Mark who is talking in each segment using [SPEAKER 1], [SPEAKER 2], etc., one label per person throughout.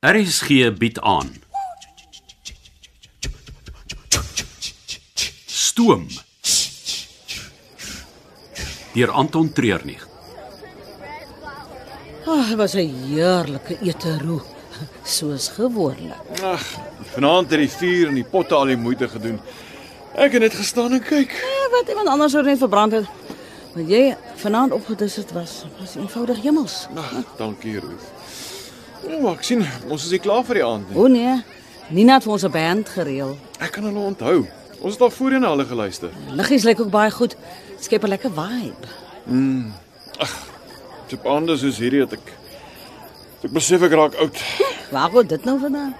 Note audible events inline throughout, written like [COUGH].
[SPEAKER 1] RSG bied aan. Stoom. Deur Anton Treurnig.
[SPEAKER 2] Oh, dit was 'n heerlike eteroe, soos gewoonlik.
[SPEAKER 3] Ag, vanaand het die vuur en die potte al die moeite gedoen. Ek het net gestaan en kyk.
[SPEAKER 2] Ja, wat iemand anders sou net verbrand het. Wat jy vanaand opgedis het was, was eenvoudig hemels.
[SPEAKER 3] Ag, dankie, Ruth. O, maar ek sien ons is nie klaar vir die aand nie.
[SPEAKER 2] O Oh, nee, Nina het vir ons 'n band gereël.
[SPEAKER 3] Ek kan hulle onthou. Ons het al voorheen na hulle geluister.
[SPEAKER 2] Liggies lyk ook baie goed. Skep 'n lekker vibe.
[SPEAKER 3] Op aande soos hierdie het ek ek besef ek raak oud.
[SPEAKER 2] Waar word dit nou vandaan?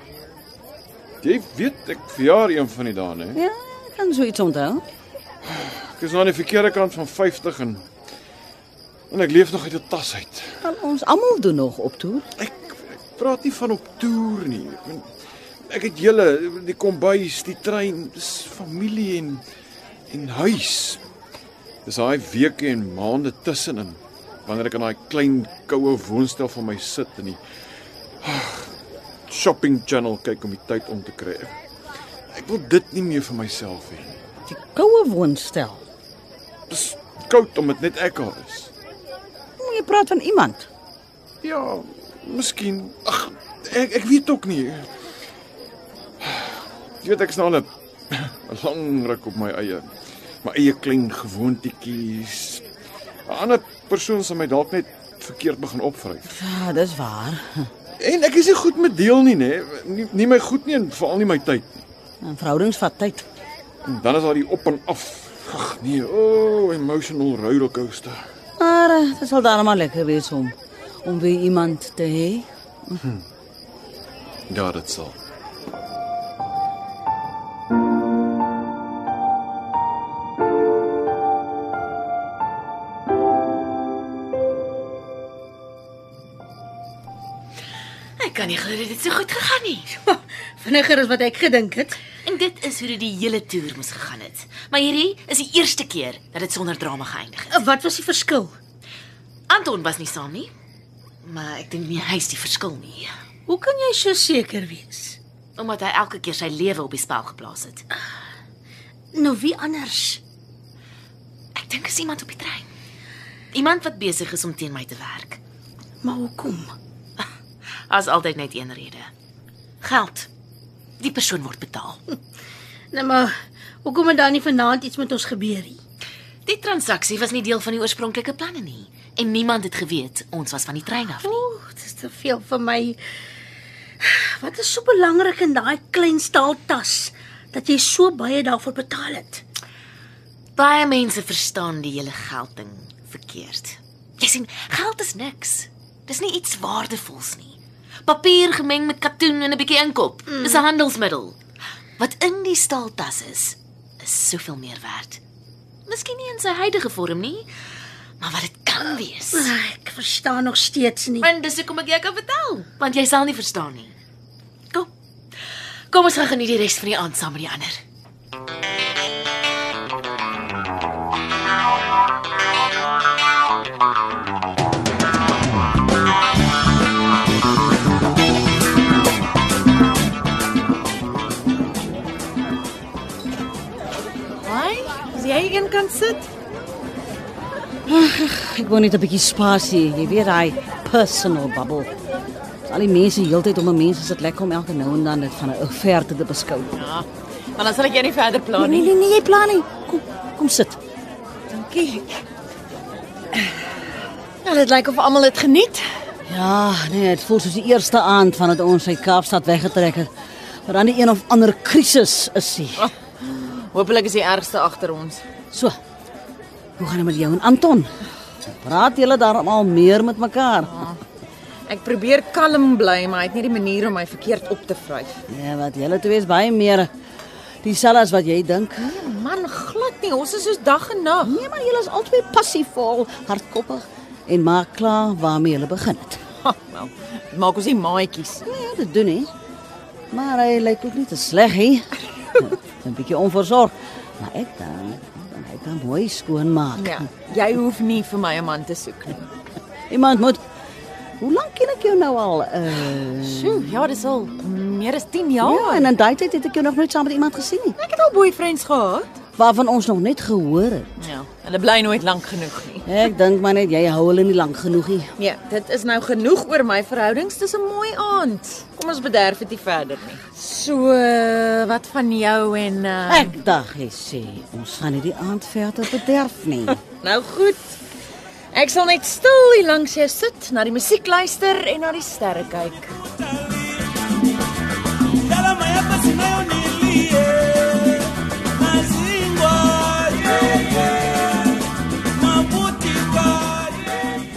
[SPEAKER 3] Jy weet ek verjaar een van die dae, né?
[SPEAKER 2] Ja, ek kan so iets onthou.
[SPEAKER 3] Ek is nou aan die verkeerde kant van 50 en en ek leef nog uit 'n tas uit.
[SPEAKER 2] Al ons almal doen nog op toer.
[SPEAKER 3] Ek, ek praat nie van op toer nie. Ek, bedoel, ek het julle die kombuis, die trein, dis familie en en huis. Dis daai weke en maande tussenin wanneer ek in daai klein koue woonstel van my sit en die ah, shopping channel kyk om die tyd om te kry. Ek- Ek wil dit nie meer vir myself hê nie.
[SPEAKER 2] Die koue woonstel.
[SPEAKER 3] Dis koud om dit net ek al is.
[SPEAKER 2] Moet jy praat van iemand?
[SPEAKER 3] Ja, miskien. Ag, ek ek weet ook nie. Jy weet ek's nou al 'n 'n [CLEARS THROAT] lang ruk op my eie. My eie klein gewoontjies. 'n Ander persoon sal my dalk net verkeerd begin opvryf.
[SPEAKER 2] Ja, dis waar.
[SPEAKER 3] En ek is nie goed met deel nie, nê? Nie, nie my goed nie en veral nie my tyd nie.
[SPEAKER 2] En verhoudings vat tyd.
[SPEAKER 3] En dan is daar die op en af. Ag nee, o, oh, emotional rollercoaster.
[SPEAKER 2] Maar eh, dit sal darem maar lekker wees om om weer iemand te hê.
[SPEAKER 3] Ja, dit sal.
[SPEAKER 4] Ek kan nie glo dit het so goed gegaan nie.
[SPEAKER 5] Vinniger as wat ek gedink het.
[SPEAKER 4] En dit is hoe dit die hele toer moes gegaan het. Maar hierdie is die eerste keer dat dit sonder drama geëindig het.
[SPEAKER 5] Eh, Wat was die verskil?
[SPEAKER 4] Anton was nie saam nie. Maar ek dink nie hy is die verskil nie,
[SPEAKER 5] Hoe kan jy so seker wees?
[SPEAKER 4] omdat hy elke keer sy lewe op die spel geplaas het.
[SPEAKER 5] Nou wie anders?
[SPEAKER 4] Ek dink is iemand op die trein. Iemand wat besig is om teen my te werk.
[SPEAKER 5] Maar hoekom?
[SPEAKER 4] As altyd net een rede. Geld. Die persoon word betaal.
[SPEAKER 5] Nou maar hoekom het daar nie vanaand iets met ons gebeur nie?
[SPEAKER 4] Die transaksie was nie deel van die oorspronklike planne nie en niemand het geweet ons was van die trein af nie.
[SPEAKER 5] Ooh, dit is te veel vir my. Wat is so belangrik in daai klein staaltas dat jy so baie daarvoor betaal het?
[SPEAKER 4] Baie mense verstaan die hele geldding verkeerd. Jy sien, geld is niks. Dis nie iets waardevols nie. Papier gemeng met katoen en 'n bietjie inkop. Dis 'n handelsmiddel. Wat in die staaltas is, is soveel meer werd. Miskien nie in sy huidige vorm nie, maar wat dit kan wees.
[SPEAKER 5] Ah, Ek verstaan nog steeds nie.
[SPEAKER 4] En dis hoekom ek jou kan vertel, want jy sal nie verstaan nie. Kom. Kom ons gaan geniet die res van die aand saam met die ander.
[SPEAKER 6] Hi, as jy een kan sit.
[SPEAKER 2] Ek wou net 'n bietjie spasie, jy weet daai personal bubble. As Al die mense heeltyd om 'n mens is dit lekker om elke nou en dan dit van 'n offerte te beskou.
[SPEAKER 6] Ja. Maar dan sal ek jou nie verder pla
[SPEAKER 2] nee
[SPEAKER 6] nie.
[SPEAKER 2] nee, nee jy plan nie. Kom, kom sit.
[SPEAKER 6] Dankie. Ja, dit lyk of almal dit geniet.
[SPEAKER 2] Ja, nee, dit voel soos die eerste aand van dit ons uit Kaapstad weggetrek het. Maar dan die een of ander krisis is hier.
[SPEAKER 6] Hoopelik is die ergste agter ons.
[SPEAKER 2] So. Hoe gaan dit met jou en Anton? Praat julle daarom al meer met mekaar?
[SPEAKER 6] Ek probeer kalm bly, maar hy het nie die manier om my verkeerd op te vryf.
[SPEAKER 2] Ja, wat julle twee is baie meer eh, dieselfde as wat jy dink.
[SPEAKER 6] Man, glad nie. Ons is soos dag en nag.
[SPEAKER 2] Nee, maar julle is albei passievol, hardkoppig en maak klaar waarmee julle begin het.
[SPEAKER 6] Ha, Wel, dit maak ons nie maatjies.
[SPEAKER 2] Nee, ja, dit doen nie. Maar hy lyk ook nie te sleg [LAUGHS] nie. 'n Bietjie onversorg, maar ek dan, dan hy kan mooi skoon maak.
[SPEAKER 6] Ja, jy hoef nie vir my 'n man te soek nie.
[SPEAKER 2] Iemand moet Hoe lank ken ek jou nou al. Uh,
[SPEAKER 6] Sjoe, ja, dis al meer as 10
[SPEAKER 2] ja,
[SPEAKER 6] jaar.
[SPEAKER 2] en in daai tyd het ek jou nog nooit saam met iemand gesien nie.
[SPEAKER 6] ek het al boyfriends gehad.
[SPEAKER 2] Waarvan ons nog net gehoor het.
[SPEAKER 6] Ja, hulle bly nooit lank genoeg nie.
[SPEAKER 2] Ek dink maar net jy hou hulle nie lank genoeg nie.
[SPEAKER 6] Nee, dit is nou genoeg oor my verhoudings. Dis 'n mooi aand. Kom ons bederf dit nie verder nie. So, eh, wat van jou en uh,
[SPEAKER 2] Ek dink hy sê ons gaan hierdie aand verder bederf nie.
[SPEAKER 6] nou goed. Ek sal net stil hier langs jou sit, na die musiek luister en na die sterre kyk.
[SPEAKER 7] Gharama yako sinayonilie mazingwa yeye mabutika yeye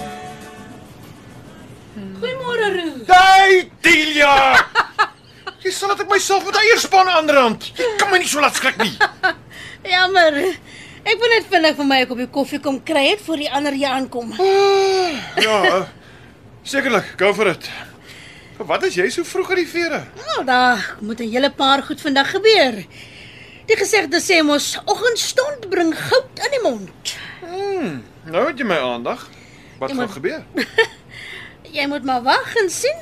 [SPEAKER 5] Goeiemôre Roo.
[SPEAKER 3] Dai, Delia. [LAUGHS] Jy sal dit myself met eierspan aanrand. Jy kan my nie so laat skrik nie.
[SPEAKER 5] Jammer. Ek wil net vinnig vir my 'n koppie koffie kom kry het voor die ander hier aankom.
[SPEAKER 3] [LAUGHS] Ja. Sekerlik, go for it. Wat is jy so vroeg uit die vere?
[SPEAKER 5] Nou, daar moet 'n hele paar goed vandag gebeur. Die gesegde sê mos oggendstond bring goud in die mond.
[SPEAKER 3] Nou het jy my aandag. Wat gaan gebeur?
[SPEAKER 5] Jy moet maar wag en sien.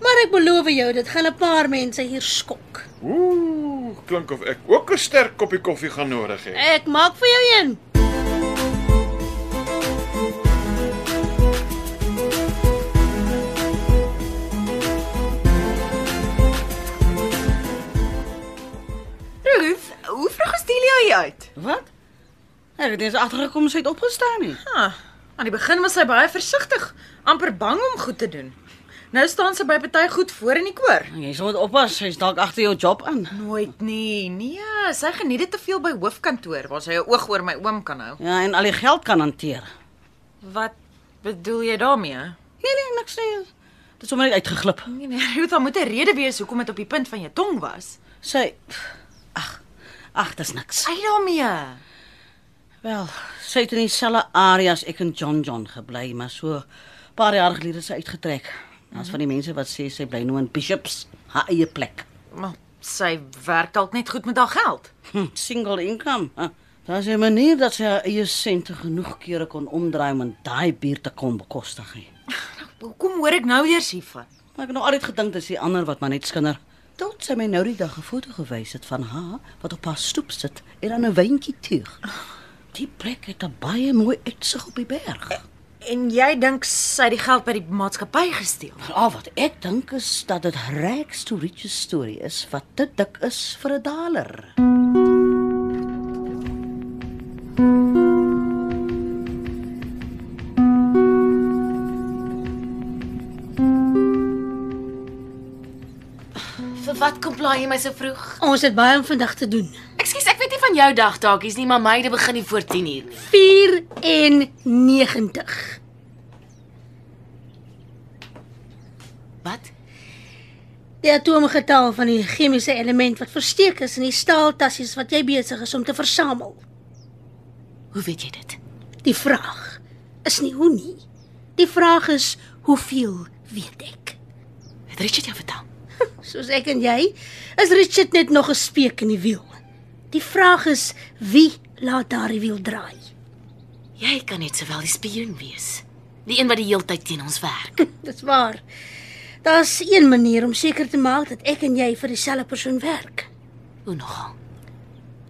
[SPEAKER 5] Maar ek beloof jou, dit gaan 'n paar mense hier skok.
[SPEAKER 3] Ooh, klink of ek ook 'n sterk koppie koffie gaan nodig hê.
[SPEAKER 5] Ek maak vir jou een.
[SPEAKER 6] Roof, hoe vroeg is Delia hier uit?
[SPEAKER 2] Wat? Ek het net agtergekom sy het opgestaan nie.
[SPEAKER 6] Ah, aan die begin was sy baie versigtig, amper bang om goed te doen. Nou staan sy by party goed voor in die koor.
[SPEAKER 2] Jy sal moet oppas, sy's dalk agter jou job aan.
[SPEAKER 6] Nooit nie. Nee, sy geniet dit te veel by hoofkantoor waar sy 'n oog oor my oom kan hou.
[SPEAKER 2] Ja, en al die geld kan hanteer.
[SPEAKER 6] Wat bedoel jy daarmee?
[SPEAKER 2] Nee nee, niks nie. Dit is sommer net uitgeglip.
[SPEAKER 6] Nee, nee, [LAUGHS] Ruth, daar moet 'n rede wees hoekom dit op die punt van jou tong was.
[SPEAKER 2] Sy Ag. Ag, dis niks.
[SPEAKER 6] Uit daarmee.
[SPEAKER 2] Wel, sy het in dieselfde area as ek en John John gebly, maar so 'n paar jaar gelede is sy uitgetrek. Daar's van die mense wat sê sy bly nou in Bishops, haar eie plek.
[SPEAKER 6] Maar sy werk dalk net goed met haar geld.
[SPEAKER 2] Hm, single income. Huh. Daar's 'n manier dat sy haar eie sente genoeg kere kon omdraai om in daai buurt te kon bekostig. hè.
[SPEAKER 6] Hoekom hoor ek nou eers hiervan?
[SPEAKER 2] Maar ek het nog altyd gedink dis die ander wat maar net skinder. Tot sy my nou die dag 'n foto gewys het van haar wat op haar stoep sit en aan 'n wyntjie tuig. Die plek het 'n baie mooi uitsig op die berg.
[SPEAKER 6] En jy dink sy het die geld by die maatskappy gesteel?
[SPEAKER 2] Maar al Ah, wat ek dink is dat dit regs to riches storie is wat te dik is vir 'n daler.
[SPEAKER 4] Vir wat kom plaai jy my so vroeg?
[SPEAKER 5] Ons het baie om vandag te doen.
[SPEAKER 4] Ekskuus, ek weet nie van jou dagtaakies nie, maar myde begin nie voor 10 uur.
[SPEAKER 5] 94.
[SPEAKER 4] Wat?
[SPEAKER 5] Die atoomgetal van die chemiese element wat versteek is in die staaltassies wat jy besig is om te versamel.
[SPEAKER 4] Hoe weet jy dit?
[SPEAKER 5] Die vraag is nie hoe nie. Die vraag is hoeveel weet ek?
[SPEAKER 4] Het Richard jou vertel?
[SPEAKER 5] Soos ek en jy, is Richard net nog 'n speek in die wiel. Die vraag is wie laat daardie wiel draai?
[SPEAKER 4] Jy kan net sowel die spioen wees. Die een wat die heeltyd teen ons werk.
[SPEAKER 5] Dis waar. Daar's een manier om seker te maak dat ek en jy vir dieselfde persoon werk.
[SPEAKER 4] Hoe nogal?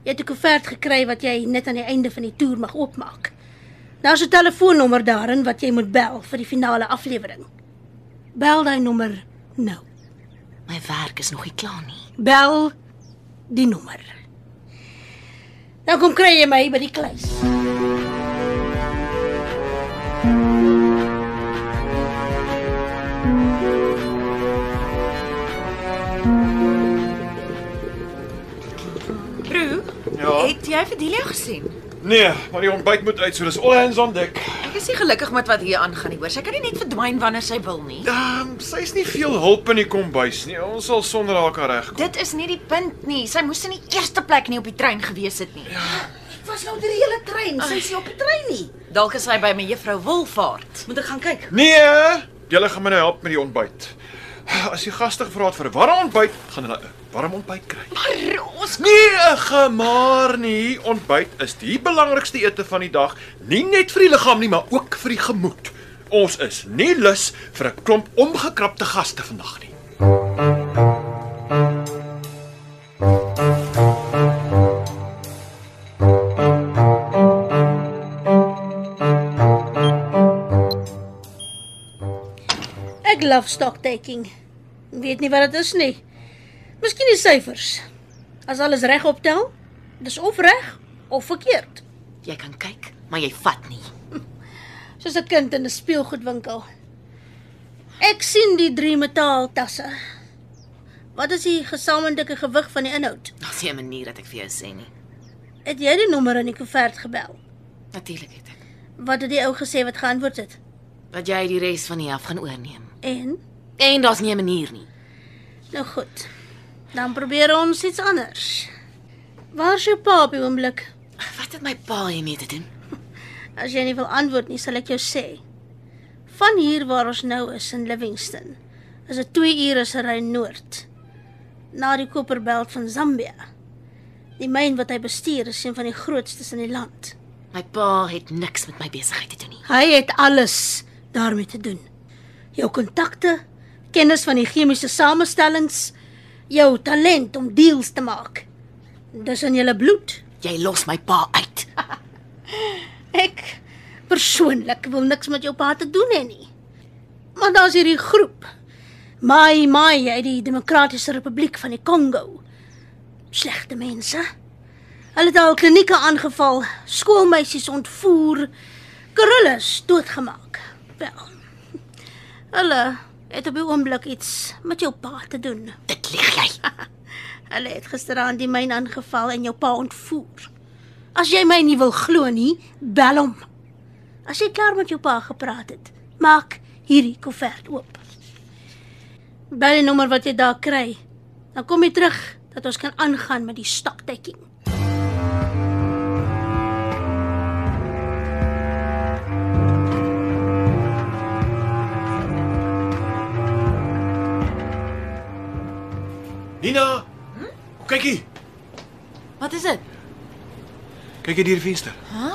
[SPEAKER 5] Jy het 'n koevert gekry wat jy net aan die einde van die toer mag oopmaak. Daar's 'n telefoonnommer daarin wat jy moet bel vir die finale aflewering. Bel daai nommer nou.
[SPEAKER 4] My werk is nog nie klaar nie.
[SPEAKER 5] Bel die nommer. Nou kom kry jy my by die kluis.
[SPEAKER 6] Roo,
[SPEAKER 3] Ja.
[SPEAKER 6] het jy vir Delia gesien?
[SPEAKER 3] Nee, maar die ontbyt moet uit, so dis all hands on deck.
[SPEAKER 6] Ek is nie gelukkig met wat hier aangaan nie, hoor. Sy kan nie net verdwyn wanneer sy wil nie.
[SPEAKER 3] Ehm, sy's nie veel hulp in die kombuis nie. Ons sal sonder haar kan regkom.
[SPEAKER 6] Dit is nie die punt nie. Sy moes in die eerste plek nie op die trein gewees het nie.
[SPEAKER 5] Was nou die hele trein, sy is nie op die trein nie.
[SPEAKER 6] Dalk is sy by me juffrou Wilvaart.
[SPEAKER 2] Moet ek gaan kyk?
[SPEAKER 3] Nee, julle gaan my nou help met die ontbyt. As die gaste gevra het vir 'n warm ontbyt, gaan hulle 'n warm ontbyt kry.
[SPEAKER 6] Maar ons
[SPEAKER 3] Nee, ag, gemaar nie. Ontbyt is die belangrikste ete van die dag, nie net vir die liggaam nie, maar ook vir die gemoed.
[SPEAKER 8] Ons is nie lus vir 'n klomp omgekrapte gaste vandag nie.
[SPEAKER 5] Ek love stock taking. Weet nie wat dit is nie. Miskien die syfers. As alles reg optel, dis of reg of verkeerd.
[SPEAKER 4] Jy kan kyk, maar jy vat nie.
[SPEAKER 5] Soos 'n kind in 'n speelgoedwinkel. Ek sien die drie metaaltasse. Wat is die gesamentlike gewig van die inhoud?
[SPEAKER 4] Daar's nie 'n manier dat ek vir jou sê nie.
[SPEAKER 5] Het jy die nommer in die koevert gebel?
[SPEAKER 4] Natuurlik het ek.
[SPEAKER 5] Wat het die ou gesê wat geantwoord het?
[SPEAKER 4] Dat jy die res van die af gaan oorneem.
[SPEAKER 5] En
[SPEAKER 4] En daar's nie 'n manier nie.
[SPEAKER 5] nou goed. Dan probeer ons iets anders. Waar is jou pa op die oomblik?
[SPEAKER 4] Wat het my pa hiermee te doen?
[SPEAKER 5] As jy nie wil antwoord nie, sal ek jou sê. Van hier waar ons nou is in Livingston, is dit 2 ure se ry noord na die Copperbelt van Zambië. Die myn wat hy bestuur is een van die grootstes in die land.
[SPEAKER 4] My pa het niks met my besigheid te doen nie.
[SPEAKER 5] Hy het alles daarmee te doen. Jou kontakte, kennis van die chemiese samestellings, jou talent om deals te maak. Dis in jou bloed.
[SPEAKER 4] Jy los my pa uit.
[SPEAKER 5] Ek persoonlik wil niks met jou pa te doen hê nie. Maar daar's hierdie groep. Mai Mai uit die Demokratiese Republiek van die Kongo. Slegte mense. Hulle het al klinieke aangeval, skoolmeisies ontvoer, gorillas doodgemaak. Wel. Hulle het op die oomblik iets met jou pa te doen.
[SPEAKER 4] Dit lieg jy.
[SPEAKER 5] Hulle het gisteraand die myn aangeval en jou pa ontvoer. As jy my nie wil glo nie, bel hom. As jy klaar met jou pa gepraat het, maak hierdie koevert oop. Bel die nommer wat jy daar kry. Dan kom jy terug dat ons kan aangaan met die staktydjie.
[SPEAKER 8] Nina, hm? kyk hier.
[SPEAKER 4] Wat is dit?
[SPEAKER 8] Kyk hier deur die venster. Hæ?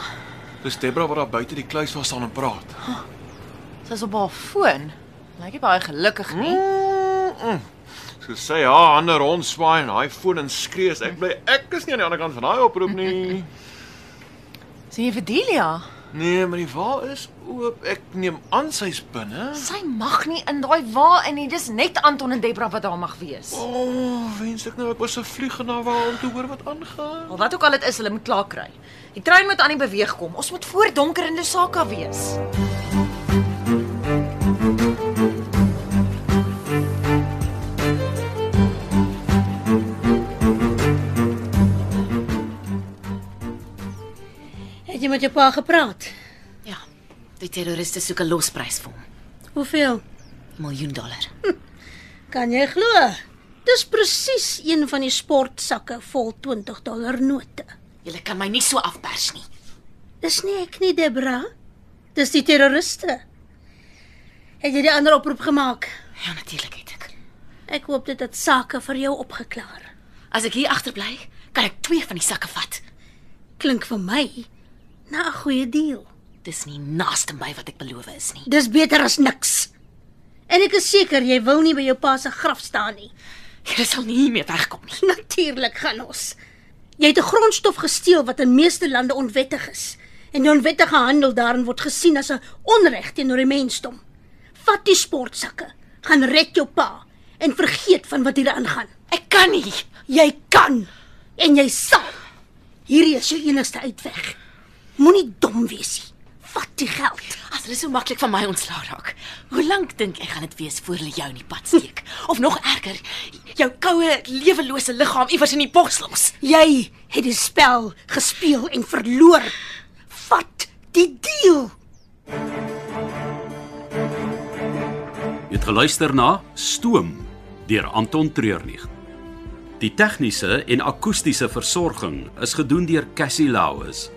[SPEAKER 8] Dis Debra wat daar buite die kluis was staan en praat.
[SPEAKER 6] Sy's op haar foon. Lyk nie baie gelukkig nie.
[SPEAKER 8] So sê haar hande rond swaai en hy foon en skree as ek bly. Ek is nie aan die ander kant van daai oproep nie.
[SPEAKER 6] Sien jy vir Delia?
[SPEAKER 8] Nee, maar die wa is oop. Ek neem aan sy's binne.
[SPEAKER 6] Sy mag nie in daai wa in nie. Dis net Anton en Debra wat daar mag wees.
[SPEAKER 8] O, oh, wens ek nou ek was 'n vlieg na waar om te hoor wat aangaan.
[SPEAKER 6] Al wat ook al dit is, hulle moet klaar kry. Die trein moet aan die beweeg kom. Ons moet voor donker in Lusaka wees.
[SPEAKER 5] Het jy met jou pa gepraat?
[SPEAKER 4] Ja. Die terroriste soek 'n losprys vir hom.
[SPEAKER 5] Hoeveel?
[SPEAKER 4] 'n Miljoen dollar.
[SPEAKER 5] Kan jy glo? Dis presies een van die sportsakke vol 20 dollar note.
[SPEAKER 4] Jy kan my nie so afpers nie.
[SPEAKER 5] Dis nie ek nie, Debra. Dis die terroriste. Het jy die ander oproep gemaak?
[SPEAKER 4] Ja, natuurlik het ek.
[SPEAKER 5] Ek hoop dit het sake vir jou opgeklaar.
[SPEAKER 4] As ek hier agterbly, kan ek twee van die sakke vat.
[SPEAKER 5] Klink vir my na 'n goeie deal.
[SPEAKER 4] Dis nie naaste by wat ek beloof is nie.
[SPEAKER 5] Dis beter as niks. En ek is seker jy wil nie by jou pa se graf staan nie.
[SPEAKER 4] Jy sal nie hiermee wegkom nie.
[SPEAKER 5] [LAUGHS] Natuurlik gaan ons. Jy het 'n grondstof gesteel wat in meeste lande onwettig is. En die onwettige handel daarin word gesien as 'n onreg teenoor die mensdom. Vat die sportsakke, gaan red jou pa en vergeet van wat hier aangaan.
[SPEAKER 4] Ek kan nie.
[SPEAKER 5] Jy kan en jy sal. Hierdie is jou enigste uitweg. Moenie dom wees nie. Vat die geld.
[SPEAKER 4] As hulle so maklik van my ontslaa raak, hoe lank dink jy gaan dit wees voor hulle jou in die pad steek? Of nog erger, jou koue, lewelose liggaam iewers in die bos los?
[SPEAKER 5] Jy het die spel gespeel en verloor. Vat die deal.
[SPEAKER 1] Jy het geluister na Stoom deur Anton Treurnig. Die tegniese en akoestiese versorging is gedoen deur Cassie Lauis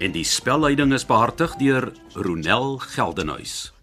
[SPEAKER 1] en die spelleiding is behartig deur Ronel Geldenhuys.